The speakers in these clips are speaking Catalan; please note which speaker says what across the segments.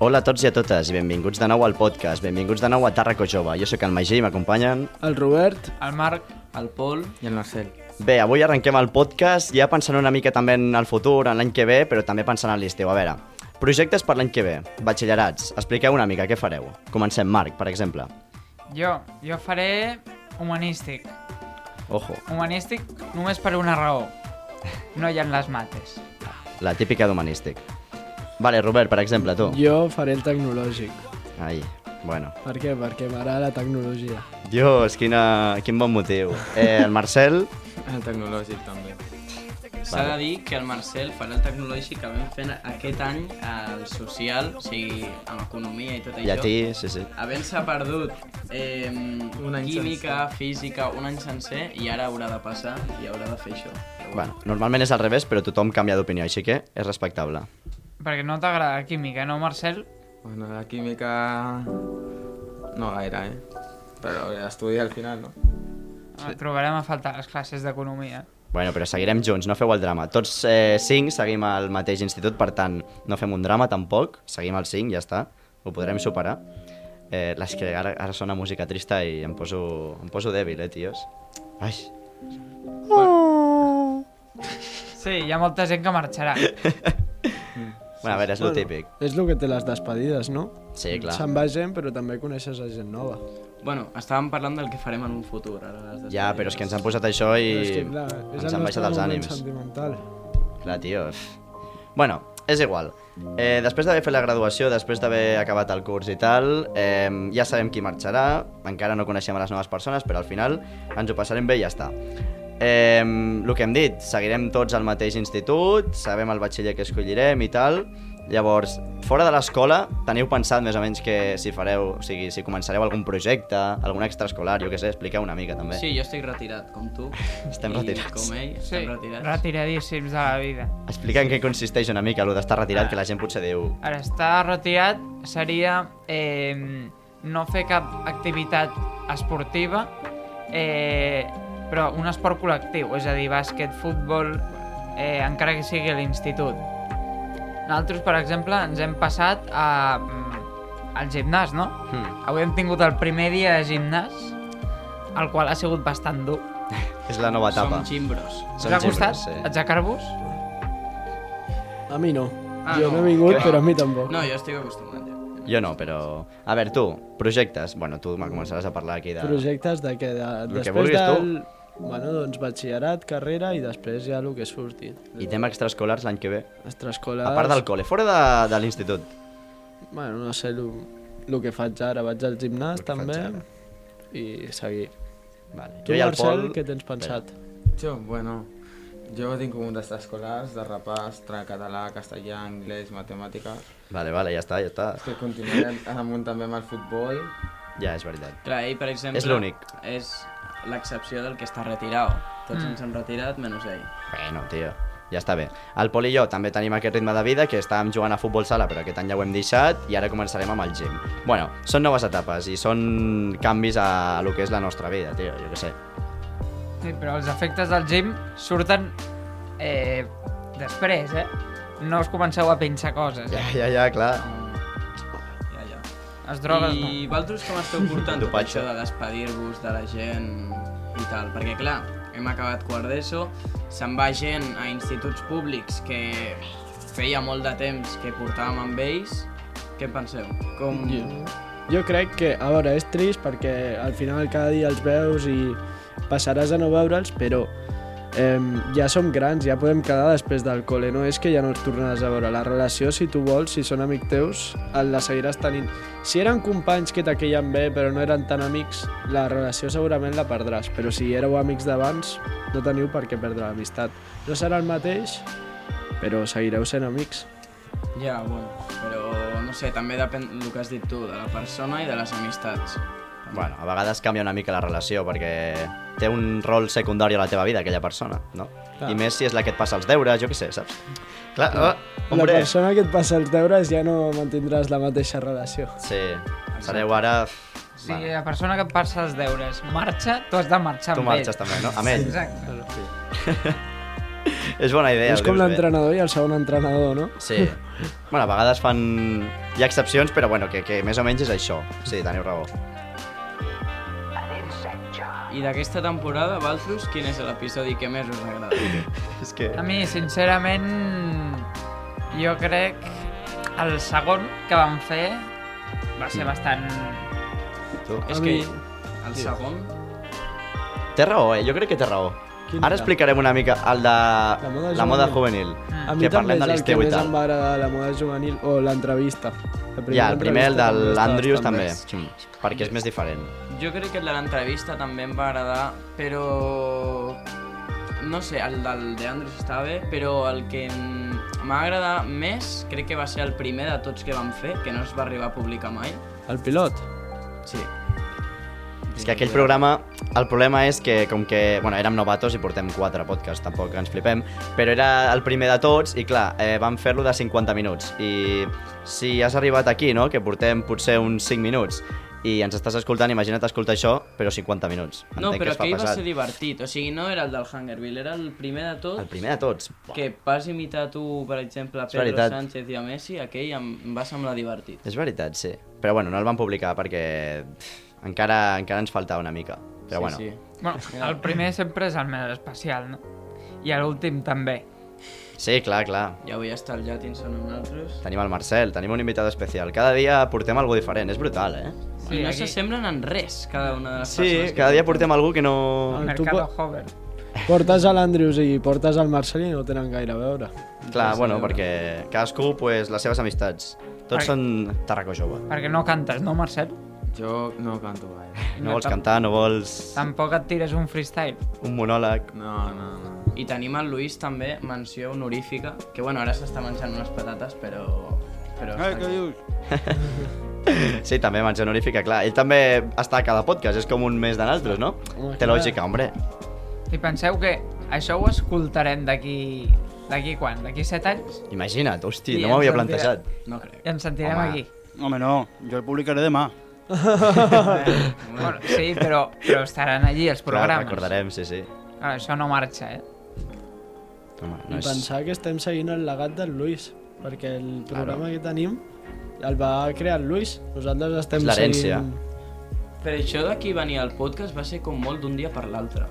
Speaker 1: Hola a tots i a totes i benvinguts de nou al podcast, benvinguts de nou a Tàrraco Jove. Jo sóc el Magí i m'acompanyen...
Speaker 2: El Robert,
Speaker 3: El Marc,
Speaker 4: el Pol i el Marcel.
Speaker 1: Bé, avui arrenquem el podcast ja pensant una mica també en el futur, en l'any que ve, però també pensant en l'estiu. A veure, projectes per l'any que ve, batxillerats, expliqueu una mica què fareu. Comencem, Marc, per exemple.
Speaker 3: jo, jo faré humanístic.
Speaker 1: Ojo,
Speaker 3: Humanístic només per una raó. No hi ha les mates.
Speaker 1: la típica d'humanístic. Vale, Robert, per exemple, tu.
Speaker 2: jo faré el tecnològic.
Speaker 1: Ai, bueno.
Speaker 2: Per què? Perquè m'agrada la tecnologia.
Speaker 1: Dios, quina, quin bon motiu. Eh, el Marcel,
Speaker 4: El tecnològic, també. S'ha de dir que el Marcel farà el tecnològic que vam fer aquest any al social, o sigui, amb economia i tot això.
Speaker 1: llatí, sí, sí.
Speaker 4: Havent-se perdut eh, química, física, un any sencer, i ara haurà de passar i haurà de fer això.
Speaker 1: Bueno, normalment és al revés, però tothom canvia d'opinió, així que és respectable.
Speaker 3: Perquè no t'agrada la química, no, Marcel?
Speaker 5: Bueno, la química... No gaire, eh? Però estudiar al final, no?
Speaker 3: Sí. Trobarem a faltar les classes d'economia.
Speaker 1: Bueno, però seguirem junts, no feu el drama. Tots eh, cinc seguim al mateix institut, per tant, no fem un drama tampoc. Seguim els cinc, ja està. Ho podrem superar. Eh, les que ara, ara sona música trista i em poso, em poso dèbil, eh, tios. Ai,
Speaker 3: Sí, hi ha molta gent que marxarà.
Speaker 1: bueno, a veure, és lo típic.
Speaker 2: És el que té les despedides, no?
Speaker 1: Sí, clar.
Speaker 2: Se'n va gent, però també coneixes a gent nova.
Speaker 4: Bueno, estàvem parlant del que farem en un futur. Ara les
Speaker 1: Ja, però és que ens han posat això i
Speaker 2: Però és que, clar, és
Speaker 1: ens
Speaker 2: el
Speaker 1: han baixat
Speaker 2: nostre
Speaker 1: els
Speaker 2: moment
Speaker 1: ànims.
Speaker 2: sentimental.
Speaker 1: Clar, tio. uf. Bueno, és igual. Eh, després d'haver fet la graduació, després d'haver acabat el curs i tal, eh, ja sabem qui marxarà, encara no coneixem a les noves persones, però al final ens ho passarem bé i ja està. Eh, el que hem dit, seguirem tots al mateix institut, sabem el batxiller que escollirem i tal, llavors, fora de l'escola, teniu pensat més o menys que si fareu, o sigui, si començareu algun projecte, algun extraescolar, jo què sé, expliqueu una mica també.
Speaker 4: Sí, jo estic retirat, com tu.
Speaker 1: Estem
Speaker 4: i
Speaker 1: retirats.
Speaker 4: Com ell,
Speaker 3: Sí,
Speaker 4: estem retirats.
Speaker 3: retiradíssims de la vida.
Speaker 1: Explica en què consisteix una mica, allò d'estar retirat, que la gent potser diu...
Speaker 3: Ara, estar retirat seria eh, no fer cap activitat esportiva, eh, però un esport col·lectiu, és a dir, bàsquet, futbol, eh, encara que sigui a l'institut. Nosaltres, per exemple, ens hem passat a, mm, al gimnàs, no?
Speaker 1: Hmm.
Speaker 3: Avui hem tingut el primer dia de gimnàs, el qual ha sigut bastant dur.
Speaker 1: És la nova etapa.
Speaker 4: Som gimbros.
Speaker 3: Us ha costat
Speaker 1: Sí.
Speaker 3: aixecar-vos?
Speaker 2: A mi no.
Speaker 3: Ah,
Speaker 2: jo
Speaker 3: no.
Speaker 2: no, he vingut,
Speaker 1: Que-
Speaker 2: però a mi tampoc.
Speaker 4: No, jo estic acostumat. Ja.
Speaker 1: Jo no, però... A veure, tu, projectes. Bueno, tu me començaràs a parlar aquí de...
Speaker 2: Projectes de què? De,
Speaker 1: que
Speaker 2: després
Speaker 1: vulguis, tu.
Speaker 2: del... Bueno, doncs batxillerat, carrera i després ja el que surti.
Speaker 1: I tema extraescolars l'any que ve.
Speaker 2: Extraescolars...
Speaker 1: A part del col·le, fora de, de l'institut.
Speaker 2: Bueno, no sé el que faig ara. Vaig al gimnàs,
Speaker 1: que
Speaker 2: també,
Speaker 1: faig ara.
Speaker 2: i seguir.
Speaker 1: Vale.
Speaker 2: Tu, Marcel, què tens pensat?
Speaker 5: Jo, bueno... Jo tinc un d'extraescolars, de repàs, tra català, castellà, anglès, matemàtica.
Speaker 1: Vale, vale, ja està, ja està.
Speaker 5: És que continuarem amunt també amb el futbol.
Speaker 1: Ja, és veritat.
Speaker 4: Clar, ell, per exemple...
Speaker 1: És l'únic.
Speaker 4: És l'excepció del que està retirat. Tots
Speaker 3: Mm.
Speaker 4: ens hem retirat, menys ell.
Speaker 1: Bueno, tio, ja està bé. El Pol i jo també tenim aquest ritme de vida que estàvem jugant a futbol sala, però aquest any ja ho hem deixat i ara començarem amb el gym. Bueno, són noves etapes i són canvis a lo que és la nostra vida, tio, jo què sé.
Speaker 3: Sí, però els efectes del gym surten eh, després, eh? No us comenceu a pinxar coses,
Speaker 1: Ja,
Speaker 3: eh?
Speaker 1: ja, ja, clar.
Speaker 4: Ja, ja.
Speaker 3: Les drogues no.
Speaker 4: I vosaltres com esteu portant tot
Speaker 1: Dopatge.
Speaker 4: això de despedir-vos de la gent i tal? Perquè, clar, hem acabat quart d'ESO, se'n va gent a instituts públics que feia molt de temps que portàvem amb ells. Què en penseu? Com...
Speaker 2: Jo, jo crec que, a veure, és trist perquè al final cada dia els veus i passaràs a no veure'ls, però eh, ja som grans, ja podem quedar després del col·le, no és que ja no els tornaràs a veure. La relació, si tu vols, si són amics teus, el- la seguiràs tenint. Si eren companys que t'aqueien bé però no eren tan amics, la relació segurament la perdràs, però si éreu amics d'abans, no teniu per què perdre l'amistat. No serà el mateix, però seguireu sent amics.
Speaker 4: Ja, bueno, però no ho sé, també depèn del que has dit tu, de la persona i de les amistats.
Speaker 1: Bueno, a vegades canvia una mica la relació perquè té un rol secundari a la teva vida, aquella persona, no?
Speaker 5: Clar.
Speaker 1: I més si és la que et passa els deures, jo què sé, saps? Clar, oh,
Speaker 2: La
Speaker 1: hombre,
Speaker 2: persona que et passa els deures ja no mantindràs la mateixa relació.
Speaker 1: sí, sereu ara...
Speaker 3: Si
Speaker 1: Sí, vale.
Speaker 3: la persona que et passa els deures marxa, tu has de marxar
Speaker 1: Tu
Speaker 3: amb ell.
Speaker 1: marxes també, no? Amb ell.
Speaker 3: Exacte.
Speaker 1: És bona idea.
Speaker 2: és
Speaker 1: ho
Speaker 2: com
Speaker 1: dius bé.
Speaker 2: l'entrenador i el segon entrenador, no?
Speaker 1: Sí. Bueno, a vegades fan... Hi ha excepcions, però bueno, que, que més o menys és això. Sí, teniu raó.
Speaker 4: I d'aquesta temporada, Valtros, quin és l'episodi que més us ha agradat?
Speaker 1: És que...
Speaker 3: A mi, sincerament, jo crec el segon que vam fer va
Speaker 1: Mm.
Speaker 3: ser bastant...
Speaker 1: Tu.
Speaker 4: És que el segon...
Speaker 1: Té raó, eh? Jo crec que té raó.
Speaker 2: Quin
Speaker 1: Ara
Speaker 2: era?
Speaker 1: explicarem una mica el de la moda,
Speaker 2: moda
Speaker 1: juvenil.
Speaker 2: A
Speaker 1: Que
Speaker 2: mi
Speaker 1: parlem
Speaker 2: també
Speaker 1: de
Speaker 2: és el que
Speaker 1: l'estiu i
Speaker 2: més
Speaker 1: tal.
Speaker 2: em va agradar la moda juvenil o l'entrevista. La primera
Speaker 1: Ja, el primer, el
Speaker 2: entrevista també
Speaker 1: de
Speaker 2: estava
Speaker 1: l'Andrius
Speaker 2: bastant
Speaker 1: també,
Speaker 2: bé.
Speaker 1: Mm, perquè és més diferent.
Speaker 4: Jo crec que el de l'entrevista també em va agradar, però... No sé, el del de Andrews estava bé, però el que em- m'ha agradat més crec que va ser el primer de tots que vam fer, que no es va arribar a publicar mai.
Speaker 2: El pilot.
Speaker 4: Sí.
Speaker 1: És que aquell programa, el problema és que com que, bueno, érem novatos i portem quatre podcasts, tampoc ens flipem, però era el primer de tots i clar, eh, vam fer-lo de 50 minuts i si has arribat aquí, no?, que portem potser uns 5 minuts i ens estàs escoltant, imagina't escoltar això, però 50 minuts. Entenc
Speaker 4: No, però
Speaker 1: es fa
Speaker 4: que hi va
Speaker 1: pesat.
Speaker 4: ser divertit, o sigui, no era el del Hungerville, era el primer de tots.
Speaker 1: El primer de tots. Buah,
Speaker 4: que vas imitar tu, per exemple, a
Speaker 1: És
Speaker 4: Pedro
Speaker 1: veritat.
Speaker 4: Sánchez i a Messi, aquell em, em va semblar divertit.
Speaker 1: És veritat, sí. Però bueno, no el van publicar perquè pff, encara encara ens faltava una mica. Però
Speaker 4: sí,
Speaker 1: bueno,
Speaker 4: sí.
Speaker 3: Bueno, el primer sempre és el més especial, no? I l'últim també.
Speaker 1: sí, clar, clar.
Speaker 4: Ja vull estar al Jatinson amb nosaltres.
Speaker 1: Tenim el Marcel, tenim un invitat especial. Cada dia portem algú diferent, és brutal, eh?
Speaker 4: Sí, I no s'assemblen en res, cada una de les
Speaker 1: Sí,
Speaker 4: persones. que
Speaker 1: cada dia
Speaker 4: portem.
Speaker 1: portem algú que no...
Speaker 2: Ah.
Speaker 3: Mercado Hover.
Speaker 2: Portes a l'Andrius i portes al Marcel i no tenen gaire a veure.
Speaker 1: Clar, bueno, perquè cadascú, pues, les seves amistats. Tots
Speaker 3: Ai.
Speaker 1: són Tarraco Jove.
Speaker 3: Perquè no cantes, no, Marcel?
Speaker 5: Jo no canto gaire.
Speaker 1: No vols cantar, no vols
Speaker 3: Tampoc et tires un freestyle.
Speaker 1: un monòleg.
Speaker 5: No, no, no.
Speaker 4: I tenim el Luis també, menció honorífica, que bueno, ara s'està menjant unes patates, però... però està aquí.
Speaker 1: Sí, també menció honorífica, clar. Ell també està a cada podcast, és com un mes de naltros, no?
Speaker 2: Home,
Speaker 1: Té
Speaker 2: clar.
Speaker 1: lògica, hombre.
Speaker 3: I penseu que això ho escoltarem d'aquí... D'aquí quan? D'aquí 7 anys?
Speaker 1: Imagina't, hosti,
Speaker 3: I
Speaker 1: no m'ho havia
Speaker 3: ens sentirà-
Speaker 1: plantejat.
Speaker 4: No crec.
Speaker 3: I ens sentirem
Speaker 1: Home.
Speaker 3: aquí.
Speaker 6: Home, no, jo el publicaré demà.
Speaker 3: Bueno, sí, però, però estaran allí els
Speaker 1: Clar,
Speaker 3: programes.
Speaker 1: recordarem, sí, sí.
Speaker 3: Ara, això no marxa, eh?
Speaker 1: Home,
Speaker 2: No
Speaker 1: no
Speaker 2: I
Speaker 1: és...
Speaker 2: pensar que estem seguint el legat del Luis, perquè el programa que tenim el va crear el Luis. Nosaltres
Speaker 1: És
Speaker 2: estem
Speaker 1: l'herència.
Speaker 2: seguint...
Speaker 4: Però això d'aquí venir al podcast va ser com molt d'un dia per l'altre.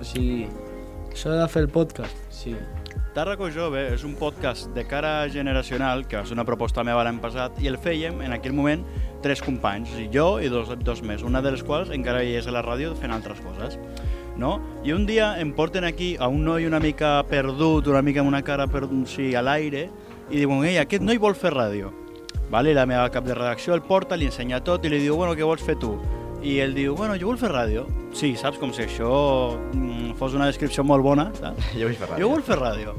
Speaker 4: O sigui,
Speaker 2: Això de fer el podcast.
Speaker 4: sí.
Speaker 6: Tàrraco Jove és un podcast de cara generacional, que és una proposta meva l'any passat, i el fèiem en aquell moment tres companys, i jo i dos, dos més, una de les quals encara hi és a la ràdio fent altres coses. No? I un dia em porten aquí a un noi una mica perdut, una mica amb una cara per, sí, a l'aire, i diuen, ei, aquest noi vol fer ràdio. Vale, la meva cap de redacció el porta, li ensenya tot i li diu, bueno, què vols fer tu? I ell diu, bueno, jo vull fer ràdio. Sí, saps, com si això mm, fos una descripció molt bona, saps?
Speaker 1: Jo vull fer ràdio.
Speaker 6: Jo vull fer ràdio.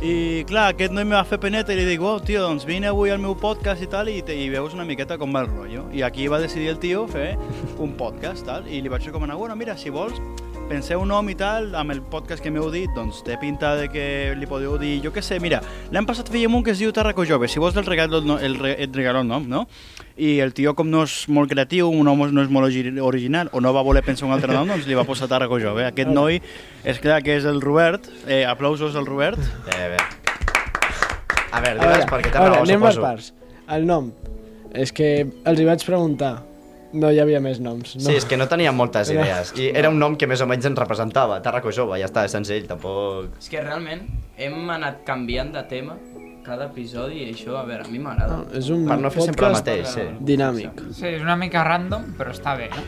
Speaker 6: I clar, aquest noi em va fer peneta i li dic, oh, tio, doncs vine avui al meu podcast i tal, i, te, i veus una miqueta com va el rotllo. I aquí va decidir el tio fer un podcast, tal, i li vaig recomanar, bueno, mira, si vols, penseu un nom i tal, amb el podcast que m'heu dit, doncs té pinta de que li podeu dir, jo què sé, mira, l'hem passat fèiem un que es diu Tarraco Jove, si vols el regalo, el, no- el, re- et regalo el nom, no? I el tio, com no és molt creatiu, un home no és molt ogi- original, o no va voler pensar un altre nom, doncs li va posar Tarraco Jove. Aquest noi, és clar que és el Robert, eh, aplausos al Robert,
Speaker 1: Eh, Bé, bé. A veure,
Speaker 2: A
Speaker 1: diràs
Speaker 2: veure,
Speaker 1: perquè
Speaker 2: a
Speaker 1: té raó,
Speaker 2: veure, anem per
Speaker 1: suposo.
Speaker 2: parts. El nom. És que els hi vaig preguntar. No hi havia més noms. No.
Speaker 1: Sí, és que no teníem moltes idees. I era un nom que més o menys ens representava. Tarraco Jove, ja està, és senzill, tampoc...
Speaker 4: És que realment hem anat canviant de tema cada episodi i això, a veure, a mi m'agrada.
Speaker 2: No, Ah, és un
Speaker 1: Per no fer sempre el
Speaker 2: podcast
Speaker 1: mateix, sí.
Speaker 2: Dinàmic.
Speaker 3: Sí, és una mica random, però està bé, no?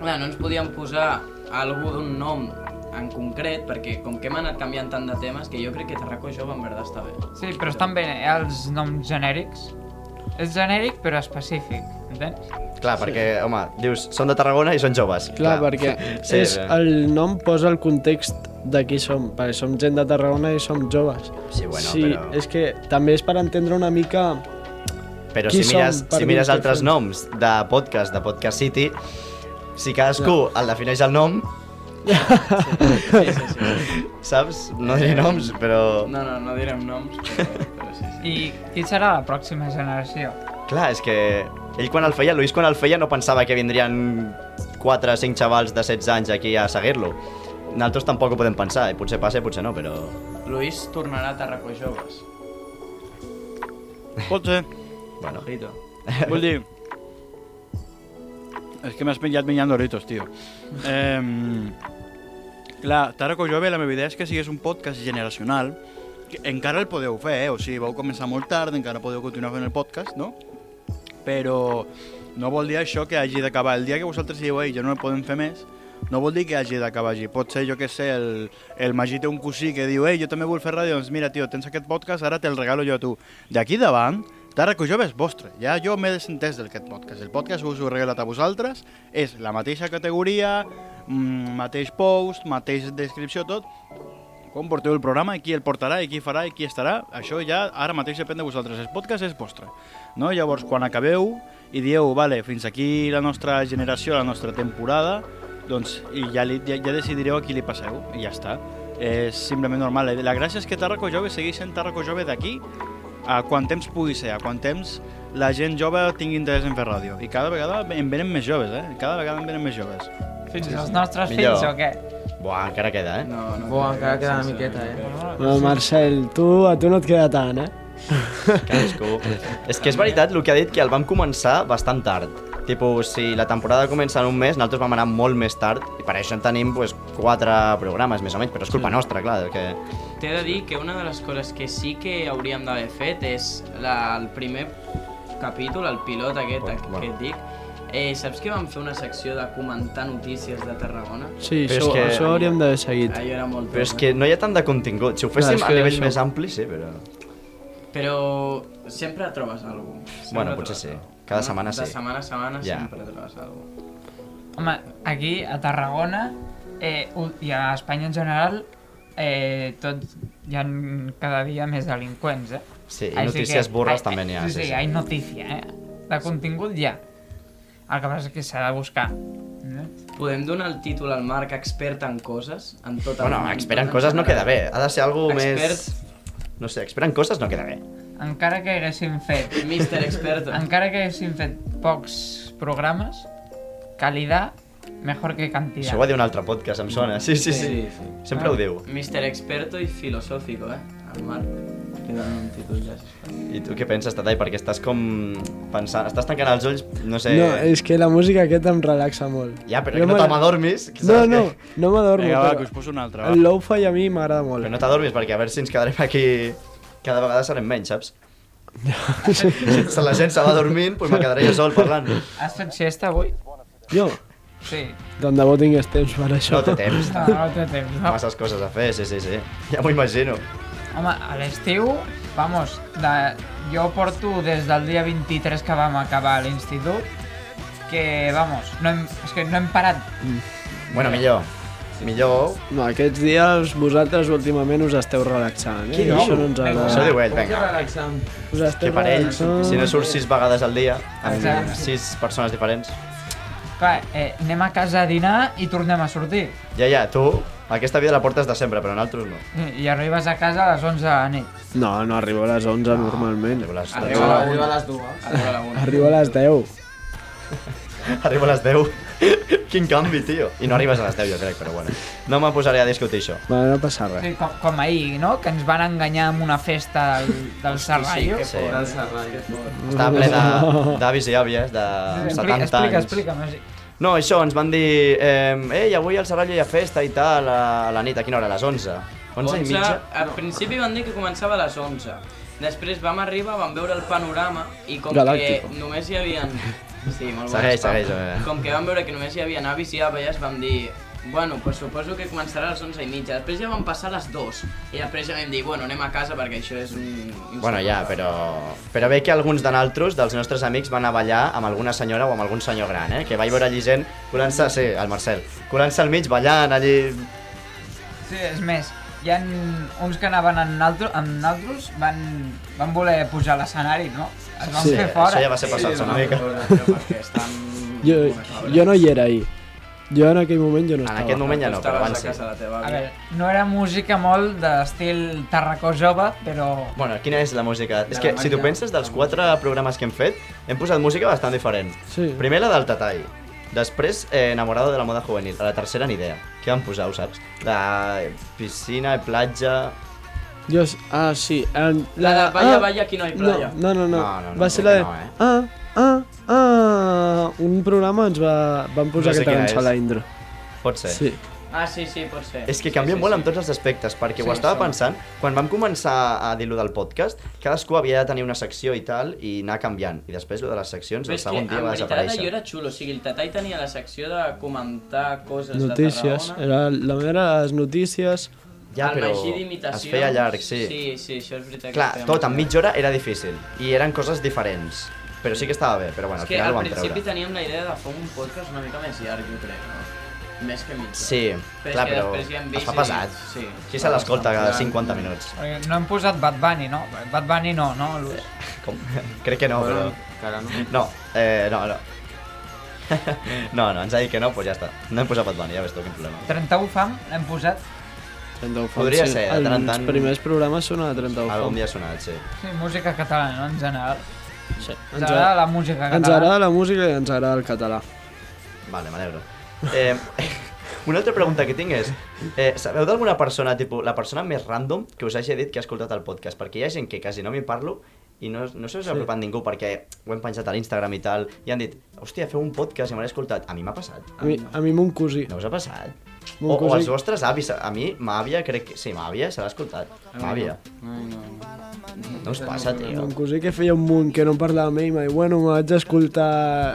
Speaker 4: Clar, no ens podíem posar algú d'un nom en concret, perquè com que hem anat canviant tant de temes, que jo crec que Tarraco Jove en verdad està bé.
Speaker 3: Sí, però estan bé eh, els noms genèrics. És genèric, però específic, entens?
Speaker 1: Clar, perquè, home, dius, són de Tarragona i són joves.
Speaker 2: Clar, perquè
Speaker 1: Sí,
Speaker 2: és,
Speaker 1: bé.
Speaker 2: el nom posa el context de qui som, perquè som gent de Tarragona i som joves.
Speaker 1: Sí, bueno,
Speaker 2: sí,
Speaker 1: però-
Speaker 2: és que també és per entendre una mica
Speaker 1: Però
Speaker 2: Qui
Speaker 1: si mires,
Speaker 2: som per
Speaker 1: si mires
Speaker 2: dir-te
Speaker 1: altres
Speaker 2: això?
Speaker 1: noms de podcast, de Podcast City, si cadascú el defineix el nom,
Speaker 4: Sí, sí, sí.
Speaker 1: saps? No diré noms, però...
Speaker 4: No, no, no direm noms, però, però sí, sí.
Speaker 3: I qui serà la pròxima generació?
Speaker 1: Clar, és que ell quan el feia, Luis quan el feia no pensava que vindrien 4 o 5 xavals de 16 anys aquí a seguir-lo. Nosaltres tampoc ho podem pensar, i potser passa i potser no, però...
Speaker 4: Luis tornarà a Tarracó Joves.
Speaker 6: Pot ser.
Speaker 1: Bueno,
Speaker 4: Rito.
Speaker 6: Vull dir... És que m'has menjat menjant doritos, tio. Eh, clar, Taraco Jove, la meva idea és que sigués un podcast generacional. Que encara el podeu fer, eh? O sigui, vau començar molt tard, encara podeu continuar fent el podcast, no? Però no vol dir això que hagi d'acabar. El dia que vosaltres dieu, ei, ja no el podem fer més, no vol dir que hagi d'acabar allí. Pot ser, jo que sé, el, el Magí té un cosí que diu, ei, jo també vull fer ràdio, doncs mira, tio, tens aquest podcast, ara te'l regalo jo a tu. D'aquí davant, Tàrraco Jove és vostre, ja jo m'he desentès d'aquest podcast. El podcast us ho he regalat a vosaltres, és la mateixa categoria, mm, mateix post, mateix descripció, tot. Com porteu el programa, i qui el portarà, i qui farà, i qui estarà, això ja ara mateix depèn de vosaltres. El podcast és vostre. No? Llavors, quan acabeu i dieu, vale, fins aquí la nostra generació, la nostra temporada, doncs i ja, li, ja, ja decidireu a qui li passeu, i ja està. És simplement normal. La gràcia és que Tàrraco Jove segueix sent Tàrraco Jove d'aquí a quant temps pugui ser, a quant temps la gent jove tingui interès en fer ràdio. I cada vegada en venen més joves, eh? Cada vegada en venen més joves.
Speaker 3: Fins als nostres
Speaker 1: Millor.
Speaker 3: fills o què?
Speaker 1: buah, encara queda, eh?
Speaker 4: No, no.
Speaker 5: Buah, encara queda una
Speaker 4: sense-
Speaker 5: miqueta, eh?
Speaker 2: Bueno, Marcel, tu, a tu no et queda tant, eh?
Speaker 1: Cadascú. és que és veritat el que ha dit, que el vam començar bastant tard. Tipo, si la temporada comença en un mes, nosaltres vam anar molt més tard, i per això en tenim pues, quatre programes, més o menys, però és culpa nostra, clar, que...
Speaker 4: T'he de dir que una de les coses que sí que hauríem d'haver fet és la, el primer capítol, el pilot aquest
Speaker 1: Bueno,
Speaker 4: que
Speaker 1: bueno.
Speaker 4: et dic. Eh, saps que vam fer una secció de comentar notícies de Tarragona?
Speaker 2: Sí,
Speaker 1: Però
Speaker 2: això,
Speaker 1: és que-
Speaker 2: això hauríem d'haver seguit.
Speaker 4: Allò era molt
Speaker 1: Però és
Speaker 4: eh?
Speaker 1: que no hi ha tant de contingut. Si ho féssim
Speaker 2: és
Speaker 1: a
Speaker 2: que
Speaker 1: nivell
Speaker 2: això-
Speaker 1: més ampli, sí, però...
Speaker 4: eh? Però sempre trobes alguna cosa.
Speaker 1: Bueno, potser sí. Cada setmana
Speaker 4: De
Speaker 1: sí.
Speaker 4: setmana a setmana
Speaker 1: Ja.
Speaker 4: sempre trobes alguna cosa.
Speaker 3: Home, aquí a Tarragona eh, u- i a Espanya en general eh, tots hi ha cada dia més delinqüents, eh?
Speaker 1: Sí, i
Speaker 3: Així
Speaker 1: notícies burres també n'hi ha,
Speaker 3: Sí,
Speaker 1: sí,
Speaker 3: sí,
Speaker 1: sí.
Speaker 3: hi ha notícia, eh? De contingut hi ha. El que passa és que s'ha de buscar. eh? No?
Speaker 4: Podem donar el títol al Marc expert en coses? En tot el
Speaker 1: Bueno,
Speaker 4: món, doncs,
Speaker 1: esperen
Speaker 4: tot en
Speaker 1: coses no queda
Speaker 4: general.
Speaker 1: bé. Ha de ser algú més...
Speaker 4: Expert.
Speaker 1: No sé, esperen coses no queda bé.
Speaker 3: Encara que haguéssim fet
Speaker 4: Mister Experto.
Speaker 3: encara que haguéssim fet pocs programes, calidad mejor que
Speaker 1: Això
Speaker 3: cantidad.
Speaker 1: ho va dir un altre podcast, em sona. Sí, sí, sí.
Speaker 4: sí. Ah.
Speaker 1: Sempre ho diu.
Speaker 4: Mister Experto i filosófico, eh? El Marc. Que donen un títol ja.
Speaker 1: I tu què penses, Tatai? Perquè estàs com... Pensant... Estàs tancant els ulls, no sé...
Speaker 2: No, és que la música aquesta em relaxa molt.
Speaker 1: Ja, però
Speaker 2: Jo
Speaker 1: que no
Speaker 2: me la-
Speaker 1: te m'adormis. que
Speaker 2: No,
Speaker 1: saps
Speaker 2: no,
Speaker 1: Que...
Speaker 2: no m'adormo,
Speaker 6: Vinga, va, que
Speaker 2: però
Speaker 6: us poso una altra,
Speaker 2: el
Speaker 6: va.
Speaker 2: low-fi a mi m'agrada molt.
Speaker 1: Però no t'adormis, perquè a veure si ens quedarem aquí... Cada vegada serem menys, saps? si se- la gent se va dormint, doncs me quedaré jo sol parlant.
Speaker 3: Has fet siesta avui?
Speaker 2: Jo,
Speaker 3: Sí.
Speaker 2: tant de bo tingués temps per això.
Speaker 1: No té temps.
Speaker 3: No, no té temps, no?
Speaker 1: Masses coses a fer, sí, sí, sí. Ja m'ho imagino.
Speaker 3: Home, a l'estiu, vamos, de... jo porto des del dia 23 que vam acabar l'institut, que, vamos, no hem, és que no hem parat.
Speaker 1: Bueno, millor. Millor...
Speaker 2: No, aquests dies vosaltres últimament us esteu relaxant, eh?
Speaker 1: Qui diu?
Speaker 2: Això no ens
Speaker 1: Això ho
Speaker 2: agrada.
Speaker 1: diu ell,
Speaker 5: Que
Speaker 1: vinga.
Speaker 5: relaxant.
Speaker 2: Us
Speaker 1: Que
Speaker 2: esteu
Speaker 1: per ell,
Speaker 2: relaxant.
Speaker 1: si no surt sis vegades al dia, amb
Speaker 3: Exacte.
Speaker 1: sis persones diferents.
Speaker 3: Clar, eh, anem a casa a dinar i tornem a sortir.
Speaker 1: Ja, ja, tu, aquesta vida la portes de sempre, però nosaltres no.
Speaker 3: I, i arribes a casa a les 11 de la nit.
Speaker 2: No, no arribo a les 11 normalment.
Speaker 1: Arribo a les,
Speaker 4: Arriba
Speaker 5: Arriba,
Speaker 4: a la
Speaker 5: arriba
Speaker 4: una.
Speaker 5: a les dues.
Speaker 4: Arriba a la una.
Speaker 2: Arribo a les 10.
Speaker 1: arribo a les 10. Quin canvi, tio. I no arribes a les 10, jo crec, però bueno. No me posaré a discutir això.
Speaker 2: Va, no passa
Speaker 3: O
Speaker 2: res.
Speaker 3: sigui, com, com ahir, no?, que ens van enganyar amb una festa del, del Serrallo.
Speaker 4: que
Speaker 1: Sí.
Speaker 4: fort,
Speaker 5: Del
Speaker 4: eh?
Speaker 5: Serrall.
Speaker 1: Estava ple de- d'avis i àvies de 70 anys.
Speaker 3: explica, explica, Magí.
Speaker 1: No, això, ens van dir... Eh, Ei, avui al Serrallo hi ha festa i tal, a la nit, a quina hora? A les 11. 11 i
Speaker 4: 11,
Speaker 1: mitja?
Speaker 4: al principi van dir que començava a les 11. Després vam arribar, vam veure el panorama i com
Speaker 2: Galàctico.
Speaker 4: que només hi havia... Sí, molt bones,
Speaker 1: Segueix,
Speaker 4: Pau.
Speaker 1: segueix, a veure.
Speaker 4: Com que vam veure que només hi havia avis i àvies, vam dir... Bueno, pues suposo que començarà a les 11 i mitja. Després ja van passar a les 2. I després ja vam dir, bueno, anem a casa perquè això és un...
Speaker 1: Bueno, ja, però... Però bé que alguns de naltros, dels nostres amics, van a ballar amb alguna senyora o amb algun senyor gran, eh? Que vaig veure allí gent colant-se... Sí, el Marcel. Colant-se al mig, ballant allí...
Speaker 3: Sí, és més, hi ha uns que anaven amb, altro, amb altres, van, van voler pujar a l'escenari, no? Es van
Speaker 2: Sí,
Speaker 3: fer
Speaker 1: Això
Speaker 3: fora.
Speaker 1: ja va ser passat-se una mica.
Speaker 4: Perquè estan...
Speaker 2: Jo,
Speaker 4: eh?"
Speaker 2: jo no hi era ahir. Jo en aquell moment jo no
Speaker 1: En
Speaker 2: estava.
Speaker 1: aquest moment ja no, però
Speaker 4: Estaves
Speaker 1: abans
Speaker 4: a
Speaker 1: sí.
Speaker 4: casa de la teva
Speaker 3: A
Speaker 4: àvia.
Speaker 3: veure, no era música molt d'estil Tarracó jove, però...
Speaker 1: Bueno, quina és la música? És
Speaker 5: La
Speaker 1: que, si tu
Speaker 5: màquina.
Speaker 1: penses, dels quatre programes que hem fet, hem posat música bastant diferent.
Speaker 2: Sí.
Speaker 1: Primer la del Tatall, després eh, Enamorado de la moda juvenil, a la tercera ni idea. Què van posar, ho saps? La piscina, platja...
Speaker 2: Jo, s- ah, sí. En, ah,
Speaker 4: La de
Speaker 1: Ah.
Speaker 4: Vaya, Vaya, aquí no hi playa.
Speaker 2: No, no, no.
Speaker 1: No, no, no,
Speaker 2: va ser la de...
Speaker 1: no, eh.
Speaker 2: Ah, ah, ah. Un programa ens va... Van posar
Speaker 1: No sé
Speaker 2: que
Speaker 1: quina
Speaker 2: cançó a
Speaker 1: és.
Speaker 2: la intro.
Speaker 1: Pot ser.
Speaker 2: Sí.
Speaker 4: Ah, sí, sí, pot ser.
Speaker 1: És que canvia sí, molt en tots els aspectes, perquè sí, ho
Speaker 4: Sí,
Speaker 1: estava
Speaker 4: sí.
Speaker 1: pensant, quan vam començar a dir lo del podcast, cadascú havia de tenir una secció i tal, i anar canviant. I després lo de les seccions,
Speaker 4: Però
Speaker 1: el
Speaker 4: és que,
Speaker 1: segon
Speaker 4: en
Speaker 1: dia va
Speaker 4: veritat, allò
Speaker 1: desaparèixer.
Speaker 4: era xulo. O sigui, el Tatai tenia la secció de comentar coses
Speaker 2: Notícies.
Speaker 4: de Tarragona.
Speaker 2: Era, la meva era les notícies.
Speaker 1: Ja,
Speaker 4: el
Speaker 1: però
Speaker 4: Magí
Speaker 1: es
Speaker 4: d'imitacions.
Speaker 1: feia llarg, sí.
Speaker 4: Sí, sí, això és veritat.
Speaker 1: Clar,
Speaker 4: que feia
Speaker 1: tot
Speaker 4: molt
Speaker 1: en
Speaker 4: llarg.
Speaker 1: mitja hora era difícil, i eren coses diferents. Però sí que estava bé, però bueno,
Speaker 4: És
Speaker 1: al
Speaker 4: que
Speaker 1: final
Speaker 4: al
Speaker 1: ho vam
Speaker 4: principi
Speaker 1: treure.
Speaker 4: teníem la idea de fer un podcast una mica més llarg, jo crec, no? Més que mitja.
Speaker 1: Sí,
Speaker 4: Però és
Speaker 1: clar,
Speaker 4: que
Speaker 1: però
Speaker 4: després ja hem
Speaker 1: es
Speaker 4: vist
Speaker 1: fa
Speaker 4: i-
Speaker 1: pesat.
Speaker 4: sí.
Speaker 1: Qui se l'escolta cada
Speaker 5: Bastant.
Speaker 1: 50 minuts?
Speaker 3: perquè eh, No hem posat Bad Bunny, no? Bad Bunny no, no? Luz?
Speaker 1: Com? Crec que no, però...
Speaker 5: Bueno, cara, no.
Speaker 1: No, eh, no, no. no, no, ens ha dit que no, doncs ja està. No hem posat Bad Bunny, ja ves tu, quin problema.
Speaker 3: 31 fam l'hem posat?
Speaker 1: Podria ser, de tant en tant-
Speaker 2: Els primers programes són a 30
Speaker 1: Algun dia ha sonat, sí.
Speaker 3: Sí, música catalana, no? En general.
Speaker 2: Sí.
Speaker 3: Ens agrada la música
Speaker 2: Ens
Speaker 3: catalana.
Speaker 2: agrada la música i ens agrada el català.
Speaker 1: Vale, m'alegro. Eh, una altra pregunta que tinc és, eh, sabeu d'alguna persona, tipus, la persona més random que us hagi dit que ha escoltat el podcast? Perquè hi ha gent que quasi no m'hi parlo i no, no se us ha apropat ningú perquè ho hem penjat a l'Instagram i tal, i han dit, hòstia, feu un podcast i me l'he escoltat. A mi m'ha passat.
Speaker 2: A mi, a mi mon cosí.
Speaker 1: No us ha passat?
Speaker 2: Mon
Speaker 1: O, o
Speaker 2: cosí-
Speaker 1: els vostres avis. A mi, ma àvia, crec que... Sí, ma àvia se l'ha escoltat. Ma àvia.
Speaker 5: Ai, no.
Speaker 1: No us passa, tio.
Speaker 2: Mon cosí que feia un munt que no em parlava amb ell, m'ha dit, bueno, me vaig escoltar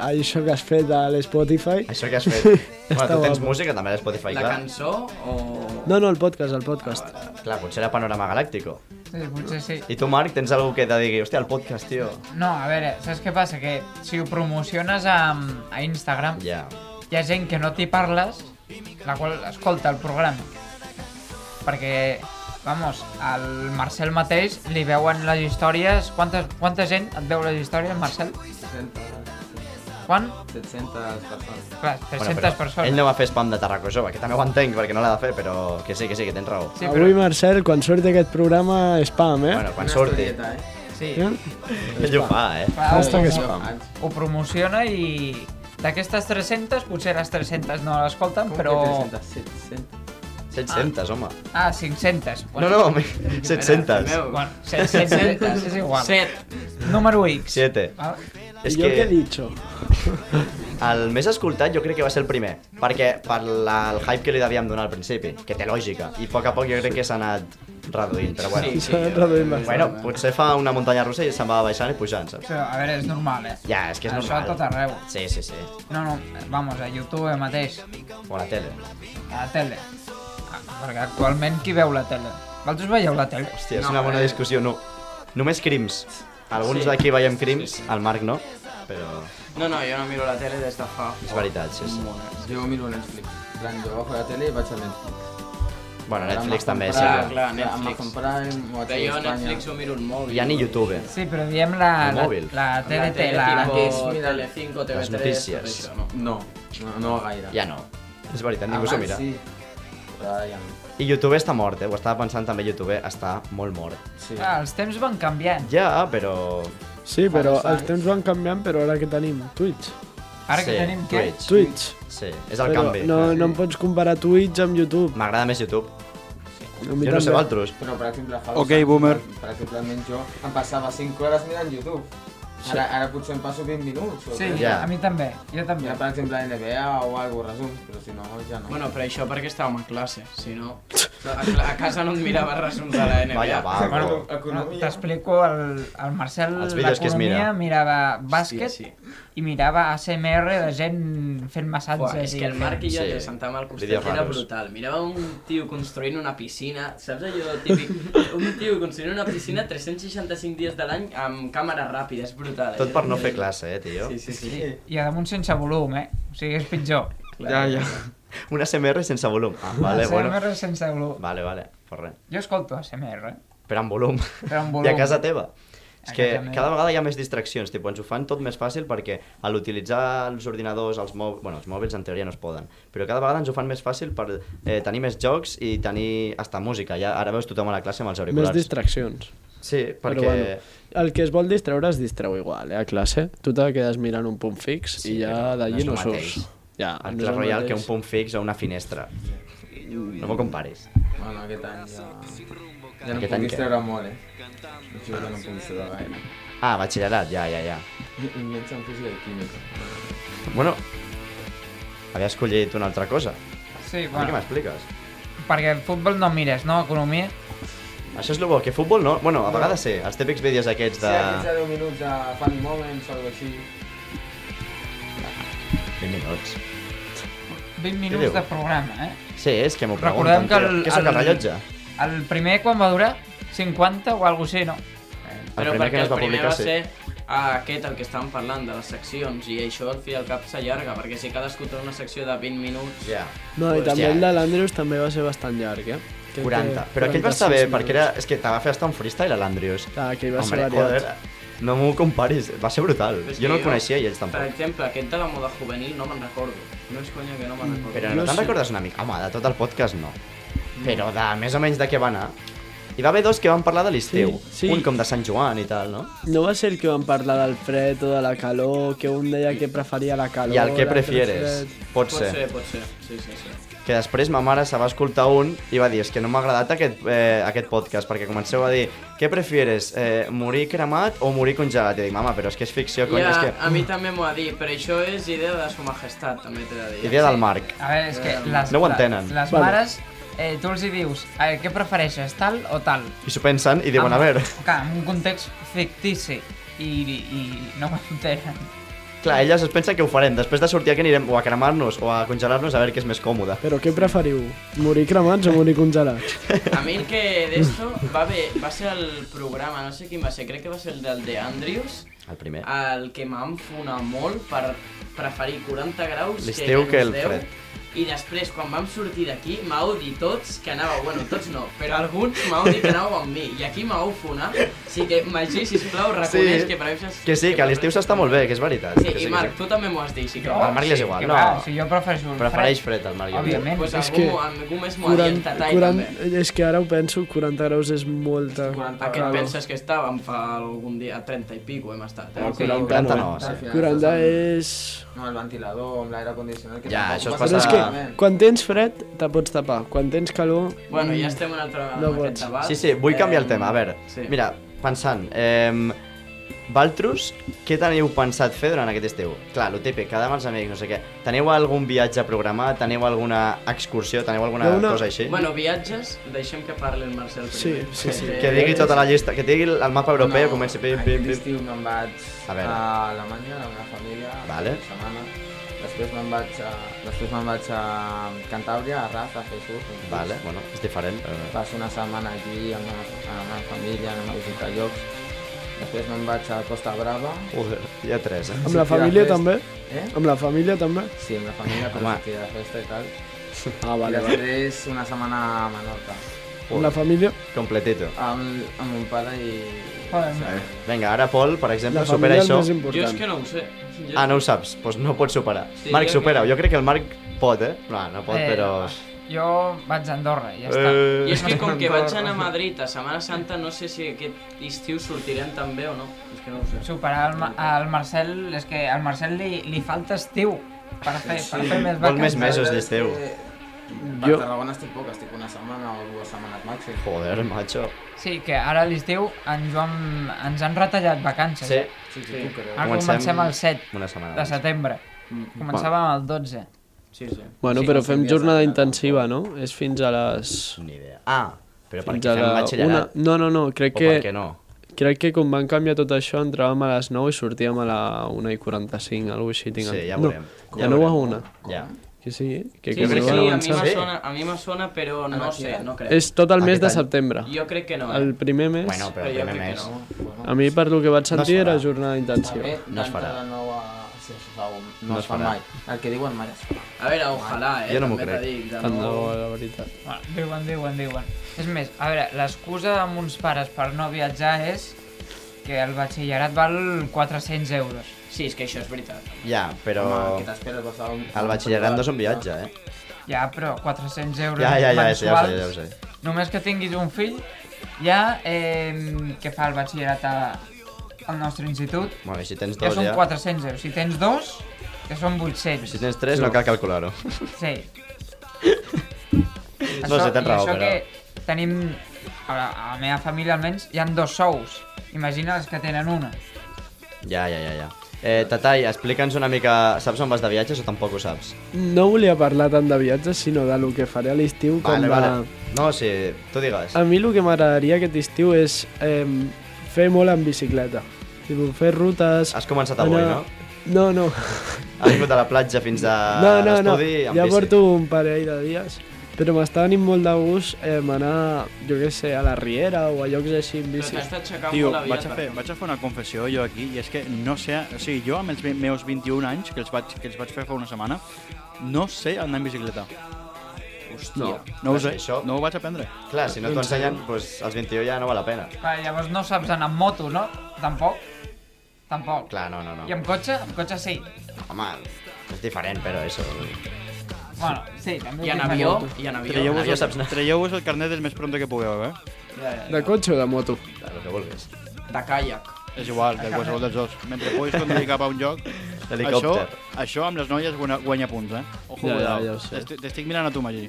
Speaker 2: això que has fet a l'Spotify.
Speaker 1: Això que has fet. bueno, tu tens
Speaker 2: guapo.
Speaker 1: música també a Spotify,
Speaker 4: La
Speaker 1: clar.
Speaker 4: cançó o...
Speaker 2: No, no, el podcast, el podcast.
Speaker 1: Clar, potser era Panorama Galàctico.
Speaker 3: Sí, potser sí.
Speaker 1: I tu, Marc, tens algú que te digui, hòstia, el podcast, tio.
Speaker 3: No, a veure, saps què passa? Que si ho promociones a, a Instagram,
Speaker 1: Ja.
Speaker 3: hi ha gent que no t'hi parles, la qual escolta el programa. Perquè, vamos, al Marcel mateix li veuen les històries... Quantes, quanta gent et veu les històries, Marcel?
Speaker 5: 700,
Speaker 3: Quan?
Speaker 5: 700 persones.
Speaker 3: Clar, 300
Speaker 1: però
Speaker 3: persones.
Speaker 1: Ell no va fer spam de Tarraco Jove, que també ho entenc, perquè no l'ha de fer, però que sí, que sí, que tens raó.
Speaker 3: Sí,
Speaker 2: Avui, Marcel, quan surti aquest programa, spam, eh?
Speaker 1: Bueno, quan
Speaker 5: Una
Speaker 1: surti.
Speaker 5: historieta, eh?
Speaker 3: Sí.
Speaker 2: Eh?
Speaker 1: Ell ho fa, eh?
Speaker 3: Clar,
Speaker 2: Hashtag
Speaker 3: ho-
Speaker 2: spam.
Speaker 3: Ho promociona i... D'aquestes 300, potser les 300 no l'escolten,
Speaker 5: Com
Speaker 3: però...
Speaker 5: que 300, 700.
Speaker 1: 700, home.
Speaker 3: Ah, 500.
Speaker 1: No,
Speaker 3: Bueno,
Speaker 1: no, home, 700.
Speaker 4: Meu,
Speaker 3: Bueno, 700 és igual.
Speaker 4: Set.
Speaker 3: Número X.
Speaker 1: 7.
Speaker 3: Ah,
Speaker 1: És
Speaker 2: jo què he
Speaker 1: que
Speaker 2: dit?
Speaker 1: el més escoltat jo crec que va ser el primer, perquè per la, el hype que li devíem donar al principi, que té lògica, i a poc a poc jo crec que s'ha anat reduint, però bueno.
Speaker 4: Sí, sí.
Speaker 2: S'ha anat reduint
Speaker 1: Bueno, potser fa una muntanya russa i se'n va baixant i pujant, saps?
Speaker 3: Però, a veure, és normal, eh?
Speaker 1: Ja, és que és
Speaker 3: Això
Speaker 1: normal.
Speaker 3: a tot arreu.
Speaker 1: Sí, sí, sí.
Speaker 3: No, no, vamos, a YouTube mateix,
Speaker 1: O a la tele.
Speaker 3: a la tele. Ah, perquè actualment qui veu la tele? Vosaltres veieu la tele?
Speaker 1: Hòstia, és
Speaker 4: No,
Speaker 1: una bona
Speaker 4: eh.
Speaker 1: discussió, no. Només crims. Alguns
Speaker 4: Sí.
Speaker 1: d'aquí veiem crims, el Marc no, però
Speaker 4: No, no, jo no miro la tele des de fa...
Speaker 1: és veritat, sí, sí.
Speaker 5: Jo miro Netflix. En plan, jo agafo la tele i vaig a Netflix.
Speaker 1: Bueno, Netflix
Speaker 5: Amazon
Speaker 1: també, sí.
Speaker 5: Prime,
Speaker 4: Clar, clar, Netflix.
Speaker 5: Amazon Prime, Watch
Speaker 4: Però jo
Speaker 5: Espanya.
Speaker 4: Netflix ho miro al mòbil.
Speaker 1: Hi ha ni YouTube.
Speaker 3: Sí, però diem la,
Speaker 1: El
Speaker 3: la,
Speaker 1: mòbil.
Speaker 3: la tele,
Speaker 4: La tele,
Speaker 3: la, la,
Speaker 4: tipo,
Speaker 5: que és, mira,
Speaker 4: Telecinco, TV3,
Speaker 1: les notícies.
Speaker 4: tot això, no?
Speaker 5: No, no, no gaire.
Speaker 1: Ja no. És veritat, ningú s'ho
Speaker 5: Abans
Speaker 1: mira.
Speaker 5: Sí. Però ara ja no.
Speaker 1: I YouTube està mort, eh? Ho estava pensant també, YouTube està molt mort.
Speaker 5: Sí.
Speaker 3: Ah, els temps van canviant.
Speaker 1: Ja, però...
Speaker 2: Sí, però els temps van canviant, però ara que tenim Twitch.
Speaker 3: Ara que
Speaker 1: sí,
Speaker 3: tenim què?
Speaker 1: Twitch.
Speaker 2: Twitch.
Speaker 1: Sí, és el
Speaker 2: Però
Speaker 1: canvi.
Speaker 2: no, no em pots comparar Twitch amb YouTube.
Speaker 1: M'agrada més YouTube.
Speaker 2: A mi
Speaker 1: Jo no sé
Speaker 2: també.
Speaker 1: valtros.
Speaker 5: Però, per exemple, fa
Speaker 6: Ok, boomer.
Speaker 5: Per exemple, almenys jo em passava 5 hores mirant YouTube. Ara, ara potser em passo 20 minuts. O
Speaker 3: Sí,
Speaker 5: què?
Speaker 1: Ja.
Speaker 3: a mi també, jo també.
Speaker 5: Mira, per exemple, NBA o algo resum, però si no, ja no.
Speaker 4: Bueno, però això perquè estàvem a classe, si no... A, cla- a casa no et mirava resums de la NBA.
Speaker 1: Vaya, va,
Speaker 3: Bueno, No,
Speaker 5: economia.
Speaker 3: T'explico, el, el Marcel
Speaker 1: Els vídeos que es mira.
Speaker 3: l'economia mirava bàsquet
Speaker 4: Sí,
Speaker 3: i mirava ASMR de gent fent massatges.
Speaker 4: Buah, és
Speaker 3: i
Speaker 4: que el
Speaker 3: fent-
Speaker 4: Marc i jo
Speaker 1: Sí.
Speaker 4: ens sentàvem al costat
Speaker 1: Vídeos
Speaker 4: i era
Speaker 1: raros.
Speaker 4: brutal. Mirava un tio construint una piscina, saps allò típic? Un tio construint una piscina 365 dies de l'any amb càmera ràpida, és brutal.
Speaker 1: Tot
Speaker 4: allò
Speaker 1: per
Speaker 4: és
Speaker 1: no fer
Speaker 4: increïble.
Speaker 1: classe, eh, tio?
Speaker 4: Sí, sí, sí.
Speaker 3: I a damunt sense volum, eh? O sigui, és pitjor.
Speaker 5: Ja, ja.
Speaker 1: Un ASMR sense volum. Ah, vale, bueno.
Speaker 3: ASMR sense volum.
Speaker 1: Vale, vale, per res.
Speaker 3: Jo escolto ASMR.
Speaker 1: Però amb volum.
Speaker 3: Però amb volum.
Speaker 1: I a casa teva. És
Speaker 3: A
Speaker 1: que
Speaker 3: casa meva.
Speaker 1: cada vegada hi ha més distraccions, tipus, ens ho fan tot més fàcil perquè a l'utilitzar els ordinadors, els mòbils, bueno, els mòbils en teoria no es poden, però cada vegada ens ho fan més fàcil per eh, tenir més jocs i tenir hasta música. Ja, ara veus tothom a la classe amb els
Speaker 2: Més
Speaker 1: auriculars.
Speaker 2: distraccions.
Speaker 1: Sí,
Speaker 2: Perquè...
Speaker 1: perquè...
Speaker 2: Però bueno, el que es vol distreure es distreu igual, eh, a classe. Tu te quedes mirant un punt fix
Speaker 1: Sí,
Speaker 2: i ja
Speaker 1: però
Speaker 2: d'allí
Speaker 1: no
Speaker 2: no,
Speaker 1: és el mateix.
Speaker 2: surts. Ja,
Speaker 1: El
Speaker 2: no és
Speaker 1: Clash
Speaker 2: el
Speaker 1: Royale que
Speaker 2: mateix.
Speaker 1: un punt fix o una finestra. No m'ho comparis.
Speaker 5: Bueno, aquest any ja... Ja no
Speaker 1: Aquest
Speaker 5: em
Speaker 1: any
Speaker 5: puc
Speaker 1: què?
Speaker 5: distreure molt, eh? Jo ja no em puc distreure gaire.
Speaker 1: Ah, batxillerat, ja, ja, ja.
Speaker 5: I- i Menys en física i química.
Speaker 1: Bueno, havia escollit una altra cosa.
Speaker 3: Sí,
Speaker 1: Bueno. Què
Speaker 3: bueno,
Speaker 1: m'expliques?
Speaker 3: perquè el futbol no mires, no? Economia.
Speaker 1: Això és el bo, que futbol no... Bueno, a vegades sí, els típics vídeos aquests
Speaker 5: Sí,
Speaker 1: de...
Speaker 5: aquests de 10 minuts de funny moments o alguna així.
Speaker 1: 20 minuts.
Speaker 3: 20
Speaker 1: diu?
Speaker 3: minuts de programa, eh?
Speaker 1: Sí, és que m'ho pregunten,
Speaker 3: Recordem que el-
Speaker 1: tio. Què sóc,
Speaker 3: el-
Speaker 1: el rellotge?
Speaker 3: El primer quan va durar? 50 o alguna cosa així, no?
Speaker 1: El
Speaker 4: Però
Speaker 1: primer que no
Speaker 4: perquè
Speaker 1: es
Speaker 4: el
Speaker 1: va
Speaker 4: primer
Speaker 1: publicar,
Speaker 4: va
Speaker 1: sí.
Speaker 4: ser ah, aquest el que estàvem parlant, de les seccions, i això al fi i al cap s'allarga, perquè si cadascú té una secció de 20 minuts...
Speaker 1: Ja.
Speaker 2: No, i
Speaker 1: Pues
Speaker 2: també
Speaker 1: ja.
Speaker 2: el de l'Andrews també va ser bastant llarg, eh? Crec que
Speaker 1: 40. Però aquell va estar
Speaker 2: 46
Speaker 1: bé,
Speaker 2: minuts.
Speaker 1: perquè era... És que te va fer estar un freestyle a l'Andrius.
Speaker 2: Clar, aquell va ser
Speaker 1: Hombre,
Speaker 2: variat.
Speaker 1: joder, no m'ho comparis, va ser brutal.
Speaker 4: Però és
Speaker 1: Jo
Speaker 4: que
Speaker 1: no el coneixia i ells tampoc.
Speaker 4: Per exemple, aquest de la moda juvenil no me'n recordo. No és conya que no me'n recordo.
Speaker 1: Però no, te'n recordes una mica? Home, de tot el podcast no. Però de més o menys de què va anar. Hi va haver dos que van parlar de l'estiu.
Speaker 2: Sí, sí.
Speaker 1: Un com de Sant Joan i tal, no?
Speaker 2: No va ser el que van parlar del fred o de la calor, que un deia que preferia la calor...
Speaker 1: I el que
Speaker 2: l'altre
Speaker 1: prefieres.
Speaker 2: fred.
Speaker 1: Pot
Speaker 4: Pot ser,
Speaker 1: ser.
Speaker 4: pot ser. Sí, sí, sí.
Speaker 1: Que després ma mare se va escoltar un i va dir és que no m'ha agradat aquest, eh, aquest podcast perquè comenceu a dir què prefieres, eh, morir cremat o morir congelat? I dic, mama, però és que és ficció, cony,
Speaker 4: Ja,
Speaker 1: és
Speaker 4: a
Speaker 1: que...
Speaker 4: mi també m'ho ha dit, però això és idea de su majestat, també t'he de dir.
Speaker 1: Idea del Marc.
Speaker 3: A veure, és que
Speaker 4: Eh,
Speaker 3: les,
Speaker 1: No ho entenen.
Speaker 3: les
Speaker 2: Vale.
Speaker 3: mares, eh, tu els hi dius, eh, què prefereixes, tal o tal?
Speaker 1: I s'ho pensen i diuen,
Speaker 3: Amb-
Speaker 1: a veure...
Speaker 3: Clar, en un context fictici i, i no ho entenen.
Speaker 1: Clar, elles es pensen que ho farem. Després de sortir aquí anirem o a cremar-nos o a congelar-nos a veure què és més còmode.
Speaker 2: Però què preferiu? Morir cremats o morir congelats?
Speaker 4: A mi el que d'esto va, bé, va ser el programa, no sé quin va ser, crec que va ser el del de Andrews,
Speaker 1: El primer.
Speaker 4: el que m'ha enfonat molt per preferir 40 graus
Speaker 1: L'estiu
Speaker 4: menys
Speaker 1: que el
Speaker 4: 10,
Speaker 1: fred.
Speaker 4: I després, quan vam sortir d'aquí, m'heu dit tots que anàveu, bueno, tots no, però alguns m'heu dit que anàveu amb mi. I aquí m'heu fonat, així que Magí, sisplau, reconeix
Speaker 1: Sí,
Speaker 4: que prefereixes...
Speaker 1: Que sí, que a l'estiu s'està molt bé, que és veritat.
Speaker 4: Sí,
Speaker 1: que
Speaker 4: i
Speaker 1: que
Speaker 4: Marc, tu també m'ho has dit, sí que...
Speaker 1: Al Marc li és igual,
Speaker 3: que
Speaker 1: no.
Speaker 3: Va, si jo prefereixo el
Speaker 1: Prefereix
Speaker 3: fred.
Speaker 1: fred al Marc i a mi.
Speaker 3: Òbviament.
Speaker 4: Pues
Speaker 2: És
Speaker 4: algú,
Speaker 2: que-
Speaker 4: algú més m'ho ha dit, el Tatai, també.
Speaker 2: és que ara ho penso, 40 graus és molta...
Speaker 5: 40
Speaker 4: Aquest
Speaker 5: graus.
Speaker 4: penses que estàvem fa algun dia, a 30 i pico hem estat, eh?
Speaker 3: Sí.
Speaker 1: 40 no,
Speaker 5: Al
Speaker 1: sí.
Speaker 5: final
Speaker 2: 40
Speaker 5: estàs amb-
Speaker 2: és...
Speaker 5: No, el ventilador, amb l'aire condicionat... Que
Speaker 1: Ja,
Speaker 5: tampoc
Speaker 1: això es
Speaker 5: passa
Speaker 2: Però és
Speaker 1: passa-
Speaker 2: que
Speaker 5: malament.
Speaker 2: quan tens fred te pots tapar, quan tens calor...
Speaker 4: Bueno, ja estem en altre
Speaker 2: No
Speaker 4: no en
Speaker 2: pots.
Speaker 4: aquest debat.
Speaker 1: Sí, sí, vull canviar el
Speaker 4: Em,
Speaker 1: tema. A veure,
Speaker 4: Eh, sí.
Speaker 1: mira, pensant, eh, Valtros, què teniu pensat fer durant aquest estiu? Clar, lo típic, quedar amb els amics, no sé què. Teniu algun viatge programat? Teniu alguna excursió? Teniu alguna
Speaker 2: Jo una-
Speaker 1: cosa així?
Speaker 4: Bueno, viatges, deixem que parli el Marcel primer. Eh,
Speaker 2: Sí, sí, sí.
Speaker 1: que digui tota la llista, que digui el mapa europeu,
Speaker 5: No,
Speaker 1: comenci pim,
Speaker 5: aquest
Speaker 1: pim, pim.
Speaker 5: estiu me'n vaig
Speaker 1: A
Speaker 5: a,
Speaker 1: veure.
Speaker 5: Alemanya, a la meva família,
Speaker 1: Vale.
Speaker 5: una setmana. Després me'n vaig a, després me'n vaig a Cantàbria, a Raz, a fer surf.
Speaker 1: Vale, bueno, és diferent. Eh,
Speaker 5: Passo una setmana aquí amb la, amb la meva família, anem a visitar llocs. Després me'n vaig a Costa Brava.
Speaker 1: Joder, hi ha tres, eh?
Speaker 2: Amb la
Speaker 5: sortir de
Speaker 2: família
Speaker 5: festa.
Speaker 2: també?
Speaker 5: Eh?
Speaker 2: Amb la família també?
Speaker 5: Sí, amb la família, per
Speaker 1: Home.
Speaker 5: sortir de festa i tal.
Speaker 2: Ah, vale,
Speaker 5: I
Speaker 2: vale.
Speaker 5: després una setmana a Menorca.
Speaker 2: Amb la família?
Speaker 1: Completito.
Speaker 5: Amb, amb mon pare i...
Speaker 3: Joder,
Speaker 1: Vinga, ara Pol, per exemple,
Speaker 2: La
Speaker 1: supera
Speaker 2: família és
Speaker 1: això.
Speaker 2: més
Speaker 4: Jo és
Speaker 2: important.
Speaker 4: que no ho sé. Jo...
Speaker 1: Ah, no ho saps, doncs no pots superar.
Speaker 4: Sí,
Speaker 1: Marc,
Speaker 4: jo crec-
Speaker 1: supera-ho. Jo crec que el Marc pot, eh? No, no pot,
Speaker 3: Eh,
Speaker 1: però...
Speaker 3: Jo vaig a Andorra, i ja està.
Speaker 1: Eh,
Speaker 4: I és que com que vaig anar a Madrid a Setmana Santa, no sé si aquest estiu sortirem també o no. És que no ho sé.
Speaker 3: Superar el, Ma- el Marcel, és que al Marcel li, li falta estiu per fer, per fer més
Speaker 1: Vol més
Speaker 3: vacances. eh?
Speaker 1: mesos
Speaker 5: És
Speaker 1: d'estiu.
Speaker 5: que Eh, Per
Speaker 2: Jo-
Speaker 5: Tarragona estic poc, estic una setmana o dues setmanes màxim.
Speaker 1: Joder, macho.
Speaker 3: Sí, que ara a l'estiu ens, ho han, ens han retallat vacances.
Speaker 1: Sí,
Speaker 3: eh?
Speaker 5: Sí, sí, tu creus.
Speaker 3: Ara
Speaker 1: Comencem- Mm,
Speaker 3: comencem el 7
Speaker 1: una setmana
Speaker 3: de
Speaker 1: abans.
Speaker 3: setembre. Començàvem el 12.
Speaker 4: Sí, sí.
Speaker 2: Bueno,
Speaker 5: Sí,
Speaker 2: però
Speaker 5: no sé
Speaker 2: fem
Speaker 5: dies de
Speaker 2: jornada
Speaker 5: Nadal,
Speaker 2: intensiva, no? És fins a les...
Speaker 1: Ni idea. Ah, però
Speaker 2: Fins
Speaker 1: perquè
Speaker 2: a
Speaker 1: fem
Speaker 2: la
Speaker 1: batxillerat.
Speaker 2: una- No, no, no, crec
Speaker 1: O
Speaker 2: que...
Speaker 1: perquè no.
Speaker 2: Crec que com van canviar tot això, entràvem a les 9 i sortíem a la 1 i 45, alguna cosa així. Tinc
Speaker 1: Sí,
Speaker 2: en-
Speaker 1: ja veurem.
Speaker 2: No,
Speaker 1: Ja
Speaker 2: ja 9 a
Speaker 1: veurem.
Speaker 2: 1.
Speaker 1: Ja.
Speaker 2: Que sí, que
Speaker 4: Sí,
Speaker 1: jo
Speaker 2: com
Speaker 4: sí, sí,
Speaker 1: crec que
Speaker 2: van
Speaker 1: no
Speaker 4: a mi
Speaker 2: avançar.
Speaker 4: me
Speaker 1: Sí. Ah,
Speaker 4: sona, a mi me sona, però no sé, no crec.
Speaker 2: És tot el mes de
Speaker 1: Aquest any.
Speaker 2: setembre.
Speaker 4: Jo crec que no, eh?
Speaker 2: El primer mes,
Speaker 1: Bueno, però
Speaker 4: Però
Speaker 1: el
Speaker 4: jo
Speaker 1: primer
Speaker 4: crec que
Speaker 1: mes...
Speaker 4: no.
Speaker 2: a mi per lo que vaig
Speaker 1: No Eh, es
Speaker 2: sentir
Speaker 1: farà.
Speaker 4: Eh,
Speaker 2: era jornada intensiva.
Speaker 5: També,
Speaker 1: No es farà.
Speaker 5: d'entrada no a Sí, això segur.
Speaker 1: No
Speaker 5: No, no
Speaker 1: es
Speaker 5: es fa
Speaker 1: farà.
Speaker 5: mai. El que diuen mai es fa.
Speaker 4: A veure, ojalà, eh?
Speaker 1: Jo no m'ho
Speaker 4: també
Speaker 1: crec.
Speaker 4: t'ho Dic, de
Speaker 2: No,
Speaker 4: no...
Speaker 2: la veritat.
Speaker 3: Bueno, diuen, diuen, diuen. És més, a veure, l'excusa de mons pares per no viatjar és que el batxillerat val 400 euros.
Speaker 4: Sí, és que això és veritat. Ah,
Speaker 1: Ja, però...
Speaker 5: Home, què t'esperes? Vas a un...
Speaker 1: El batxillerat no és un viatge, eh?
Speaker 3: Ja, però 400 euros
Speaker 1: Ja, ja, ja, ja, ja ho sé,
Speaker 3: mensuals,
Speaker 1: ja ho sé.
Speaker 3: Només que tinguis un fill, ja, eh, que fa el batxillerat a, al nostre institut,
Speaker 1: Bueno, i si tens
Speaker 3: que
Speaker 1: dos
Speaker 3: són
Speaker 1: ja...
Speaker 3: 400 euros. Si tens dos, que són 800.
Speaker 1: Si tens tres no cal calcular-ho.
Speaker 3: Sí.
Speaker 1: No sé, tens
Speaker 3: i
Speaker 1: raó,
Speaker 3: això
Speaker 1: però-
Speaker 3: que tenim... A la, a la meva família almenys hi han dos sous. Imagina els que tenen una.
Speaker 1: Ja, ja, ja, ja. Eh, Tatai, explica'ns una mica... Saps on vas de viatges o tampoc ho saps?
Speaker 2: No volia parlar tant de viatges, sinó de lo que faré a l'estiu. com Em, de...
Speaker 1: No, sí, tu digues.
Speaker 2: A mi el que m'agradaria aquest estiu és eh, fer molt en bicicleta. Tipo, fer rutes...
Speaker 1: Has començat avui, no?
Speaker 2: anar- No, no.
Speaker 1: Has vingut de la platja fins a
Speaker 2: no, no, no.
Speaker 1: Ah, l'estudi amb
Speaker 2: ja
Speaker 1: bici.
Speaker 2: porto un parell de dies, però m'està venint molt de gust eh, anar, jo què sé, a la Riera o a llocs així en
Speaker 4: Però
Speaker 2: bici.
Speaker 4: t'has d'aixecar
Speaker 6: Tio,
Speaker 4: molt aviat.
Speaker 6: vaig a, fer,
Speaker 4: perquè-
Speaker 6: vaig a fer una confessió jo aquí, i és que no sé... O sigui, jo amb els ve- meus 21 anys, que els vaig, que els vaig fer fa una setmana, no sé anar en bicicleta.
Speaker 1: Hòstia.
Speaker 6: No ho sé,
Speaker 1: Això-
Speaker 6: no ho vaig aprendre.
Speaker 1: Clar, si no t'ho ensenyen, pues, doncs als 21 ja no val la pena.
Speaker 3: Clar, llavors no saps anar amb moto, no? Tampoc. Tampoc.
Speaker 1: Clar, no, no, no.
Speaker 3: I amb cotxe? Amb cotxe sí.
Speaker 1: Home, és diferent, però això...
Speaker 3: Bueno, sí, també.
Speaker 4: I en
Speaker 3: ho tinc
Speaker 4: avió,
Speaker 3: fet.
Speaker 4: i en avió.
Speaker 1: Traieu-vos-
Speaker 6: Traieu-vos
Speaker 1: ja saps
Speaker 6: el,
Speaker 1: anar.
Speaker 6: traieu el carnet el més pronto que pugueu, eh?
Speaker 2: De cotxe o de moto?
Speaker 1: El que vulguis.
Speaker 4: De caiac.
Speaker 6: És igual, de qualsevol dels dos. Mentre puguis conduir cap a un lloc... Això,
Speaker 1: Helicòpter.
Speaker 6: això amb les noies guanya, guanya punts, eh?
Speaker 2: Ja,
Speaker 6: Ojo,
Speaker 2: ja,
Speaker 6: cuidao.
Speaker 2: ja ho sé.
Speaker 6: T'estic- T'estic mirant a tu, Magí.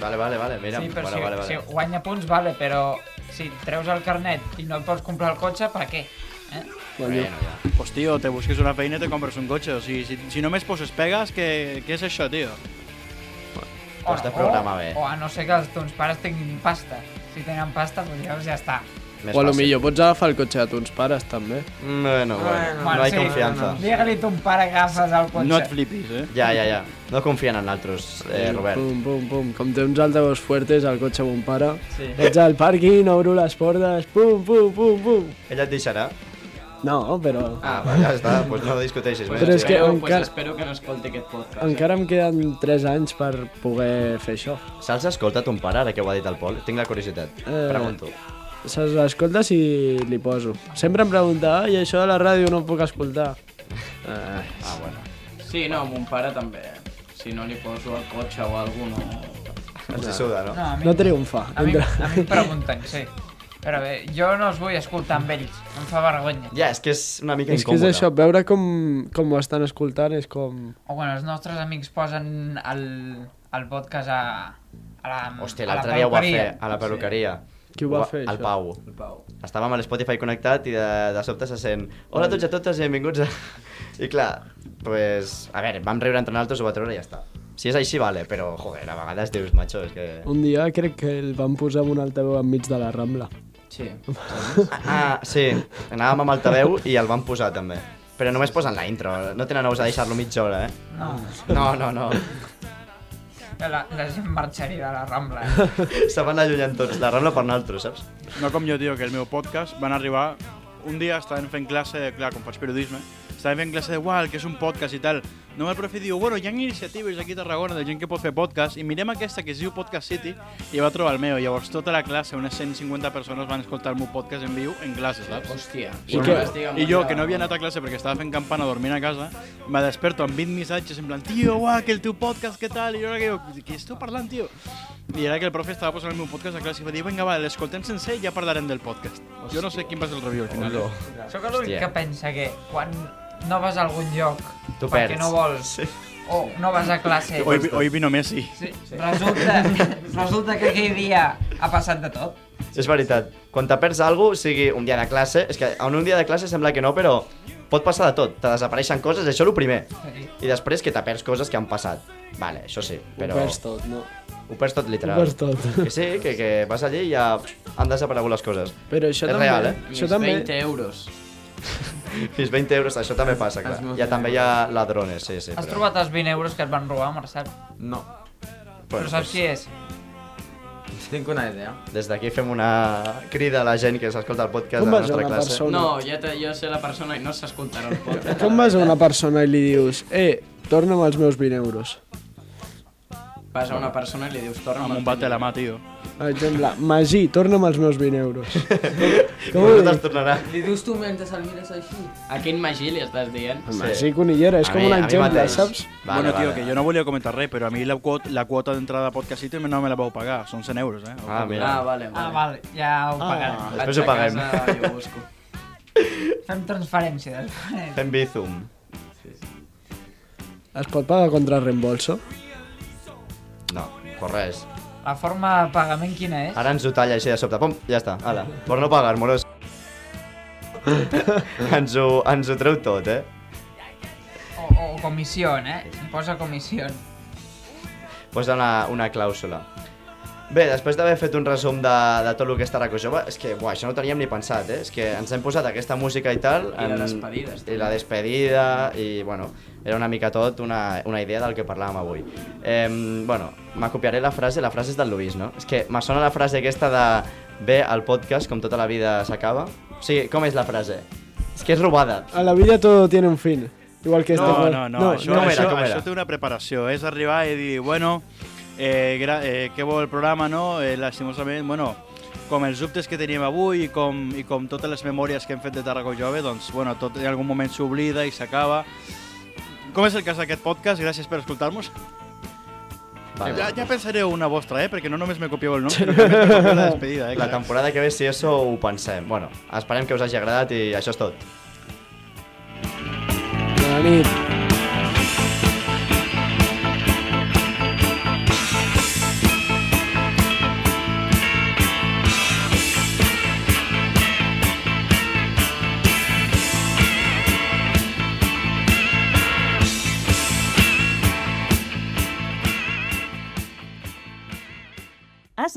Speaker 1: Vale, vale, vale, mira.
Speaker 3: Sí, però
Speaker 1: bueno,
Speaker 3: si,
Speaker 1: vale, vale.
Speaker 3: si guanya punts, vale, però si treus el carnet i no et pots comprar el cotxe, per què? Eh?
Speaker 1: Bueno, ja.
Speaker 6: Pues, tio, te busques una feina i te compres un cotxe. O sigui, si, si només poses pegues, què, què és això, tio?
Speaker 1: Ho has de programar este bé.
Speaker 3: O a no ser que els teus pares tinguin pasta. Si tenen pasta, doncs llavors ja està.
Speaker 1: Més
Speaker 2: o a lo
Speaker 1: fàcil.
Speaker 2: millor pots agafar el cotxe de tons pares, també.
Speaker 1: Mm, Bueno, bueno, no hi ha confiança.
Speaker 3: Digue-li ton pare que agafes el cotxe.
Speaker 6: No et flipis, eh?
Speaker 1: Ja, ja, ja. No confien en altres, eh, Robert.
Speaker 2: Pum, pum, pum. Com té uns altavocs fuertes al cotxe mon pare, sí. vaig al pàrquing, obro les portes, pum, pum, pum, pum.
Speaker 1: Ella et deixarà?
Speaker 2: No, però...
Speaker 1: Ah, va, ja està, doncs pues no discuteixis més.
Speaker 2: Però és que
Speaker 4: Espero, pues
Speaker 2: encara-
Speaker 4: espero que no escolti aquest podcast.
Speaker 2: Encara em queden 3 anys per poder fer això.
Speaker 1: Saps escolta ton pare, ara que ho ha dit el Pol? Tinc la curiositat.
Speaker 2: Eh.
Speaker 1: Pregunto.
Speaker 2: Se l'escolta si li poso. Sempre em pregunta, ai, això de la ràdio no ho puc escoltar.
Speaker 1: Ah, bueno.
Speaker 4: ¿eh? Sí, no, mon pare també. Si no li poso el cotxe o alguna cosa,
Speaker 1: Els hi suda, no?
Speaker 3: No, a mi,
Speaker 2: No triomfa.
Speaker 3: a mi,
Speaker 2: Entre...
Speaker 3: a mi em pregunten, sí. Però bé, jo no els vull escoltar amb ells. Em fa vergonya.
Speaker 1: Ja, és que és una mica
Speaker 2: És que és
Speaker 1: incòmode.
Speaker 2: això, veure com, com ho estan escoltant és com...
Speaker 3: O quan els nostres amics posen el, el podcast a, a la
Speaker 1: Hòstia,
Speaker 3: a la
Speaker 1: l'altre dia ho va fer, Ah.
Speaker 3: perruqueria.
Speaker 1: a la perruqueria.
Speaker 2: Qui ho va fer,
Speaker 1: El
Speaker 2: això?
Speaker 1: Pau.
Speaker 4: el Pau.
Speaker 1: Estàvem a l'Spotify connectat i de, de sobte se sent Hola a tots i a totes i benvinguts a... I clar, pues, a veure, vam riure entre nosaltres, ho va treure i ja està. Si és així, vale, però, joder, a vegades dius, macho, és que...
Speaker 2: Un dia crec que el van posar en un altaveu enmig de la Rambla.
Speaker 4: Sí.
Speaker 1: Ah, sí, anàvem amb altaveu i el van posar també. Però només posen la intro, no tenen nous a deixar-lo mitja hora, eh?
Speaker 3: No,
Speaker 1: No, no, no.
Speaker 3: la, la gent marxaria de la Rambla. eh?
Speaker 1: Se van allunyant tots, la Rambla per nosaltres, saps?
Speaker 6: No com jo, tio, que el meu podcast van arribar... Un dia estaven fent classe, clar, com faig periodisme, estaven fent classe de uau, que és un podcast i tal. No el profe diu, bueno, hi ha iniciatives aquí a Tarragona de gent que pot fer podcast i mirem aquesta que es diu Podcast City i va trobar el meu. Llavors tota la classe, unes 150 persones van escoltar el meu podcast en viu en classe, saps?
Speaker 4: Hòstia.
Speaker 6: I,
Speaker 4: no
Speaker 6: que,
Speaker 4: vas dir
Speaker 6: I jo,
Speaker 4: molt
Speaker 6: que no havia
Speaker 4: de-
Speaker 6: anat a classe perquè estava fent campana dormint a casa, me desperto amb 20 missatges en plan, tio, uah, que el teu podcast, què tal? I jo era que diu, què esteu parlant, tio? I era que el profe estava posant el meu podcast a classe i va dir, vinga, va, l'escoltem sencer i ja parlarem del podcast. Jo no sé quin va ser el review al final.
Speaker 1: No.
Speaker 3: Sóc l'únic
Speaker 1: Hòstia.
Speaker 3: que pensa que quan no vas a algun lloc
Speaker 1: Tu
Speaker 3: perquè
Speaker 1: perds.
Speaker 3: no vols
Speaker 1: Sí.
Speaker 3: o no vas a classe
Speaker 6: Hoy, hoy vino Messi.
Speaker 3: sí, resulta, resulta que aquell dia ha passat de tot.
Speaker 1: És veritat. Quan te perds alguna cosa, sigui un dia de classe... És que en un dia de classe sembla que no, però pot passar de tot. Te desapareixen coses, això és el primer.
Speaker 3: Sí.
Speaker 1: I després que te perds coses que han passat. Vale, això sí, però...
Speaker 2: Ho perds tot, no?
Speaker 1: Ho perds tot, literal.
Speaker 2: Ho perds tot.
Speaker 1: Que sí, que, que vas allí i ja han desaparegut les coses.
Speaker 2: Però això
Speaker 1: És
Speaker 2: també...
Speaker 1: real, eh?
Speaker 4: Més
Speaker 2: Això també...
Speaker 4: 20 euros.
Speaker 1: Fins 20 euros, això també passa, clar. Ja també hi ha ladrones, sí, sí.
Speaker 3: Has
Speaker 1: però-
Speaker 3: trobat els 20 euros que et van robar, Marcel?
Speaker 5: No.
Speaker 3: Però
Speaker 1: Bueno,
Speaker 3: saps qui és?
Speaker 5: Tinc una idea.
Speaker 1: doncs, Des d'aquí fem una crida a la gent que s'escolta el podcast
Speaker 2: Com
Speaker 1: de la
Speaker 2: vas a
Speaker 1: nostra
Speaker 2: una
Speaker 1: classe.
Speaker 2: persona?
Speaker 4: Oh, No, ja te, jo sé la persona i no s'escoltarà el podcast.
Speaker 2: Com vas a una persona i li dius, eh, torna'm els meus 20 euros?
Speaker 4: Vas a una persona i li dius torna
Speaker 6: Amb un bate a la mà, tio.
Speaker 2: Per exemple, Magí, torna'm els meus 20 euros. Com ho
Speaker 1: Nosaltres
Speaker 2: dius?
Speaker 1: tornarà.
Speaker 5: Li dius tu mentre se'l mires així?
Speaker 4: A quin Magí li estàs dient?
Speaker 2: Magí Conillera, és
Speaker 1: A
Speaker 2: com
Speaker 1: mi-
Speaker 2: un
Speaker 1: a mi
Speaker 2: exemple,
Speaker 1: mateix.
Speaker 2: saps?
Speaker 1: Vale,
Speaker 6: bueno, tio,
Speaker 1: vale.
Speaker 6: que jo no volia comentar res, però a mi la quota, la quota d'entrada de Podcast City no me la vau pagar, són 100 euros, eh?
Speaker 1: Ah, mira.
Speaker 4: Ah, vale, vale.
Speaker 3: Ah, val, ja ho pagarem.
Speaker 4: Vaig
Speaker 1: Després ho
Speaker 4: a
Speaker 1: paguem.
Speaker 4: Casa, jo ho busco.
Speaker 3: Fem transferència després.
Speaker 1: Fem Bizum.
Speaker 2: Es pot pagar contra reembolso?
Speaker 1: No, per res.
Speaker 3: La forma de pagament quina és?
Speaker 1: Ara ens ho talla així de sobte. Pum, ja està. Ala. Per no pagar, moros. ens, ho, ens ho treu tot, eh?
Speaker 3: O, o comissió, eh? Posa comissió.
Speaker 1: Posa una, una clàusula. Bé, després d'haver fet un resum de, de tot el que està Raco Jove, és que, buah, això no ho teníem ni pensat, eh? És que ens hem posat aquesta música i tal...
Speaker 4: I la despedida,
Speaker 1: I la despedida, i, bueno, era una mica tot una, una idea del que parlàvem avui. Eh, bueno, m'acopiaré la frase, la frase és del Luis, no? És que me sona la frase aquesta de... Bé, el podcast, com tota la vida s'acaba... O sigui, com és la frase? És que és robada.
Speaker 6: Ah,
Speaker 2: A la vida todo tiene un fin. Igual que este...
Speaker 6: No,
Speaker 2: juego.
Speaker 6: no, no, això,
Speaker 1: no, com era,
Speaker 6: això,
Speaker 1: com era?
Speaker 6: això té una preparació, és arribar i dir, bueno, eh, gra eh, què vol el programa, no? Eh, lastimosament, bueno, com els dubtes que teníem avui i com, i com totes les memòries que hem fet de Tarraco Jove, doncs, bueno, tot en algun moment s'oblida i s'acaba. Com és el cas d'aquest podcast? Gràcies per escoltar-nos. Ja, ja pensaré una vostra, eh? Perquè no només me copieu el nom, sinó que també me copieu la despedida, eh?
Speaker 1: La
Speaker 6: clar.
Speaker 1: temporada que ve, si això ho pensem. Bueno, esperem que us hagi agradat i això és tot.
Speaker 2: Bona nit.
Speaker 7: Has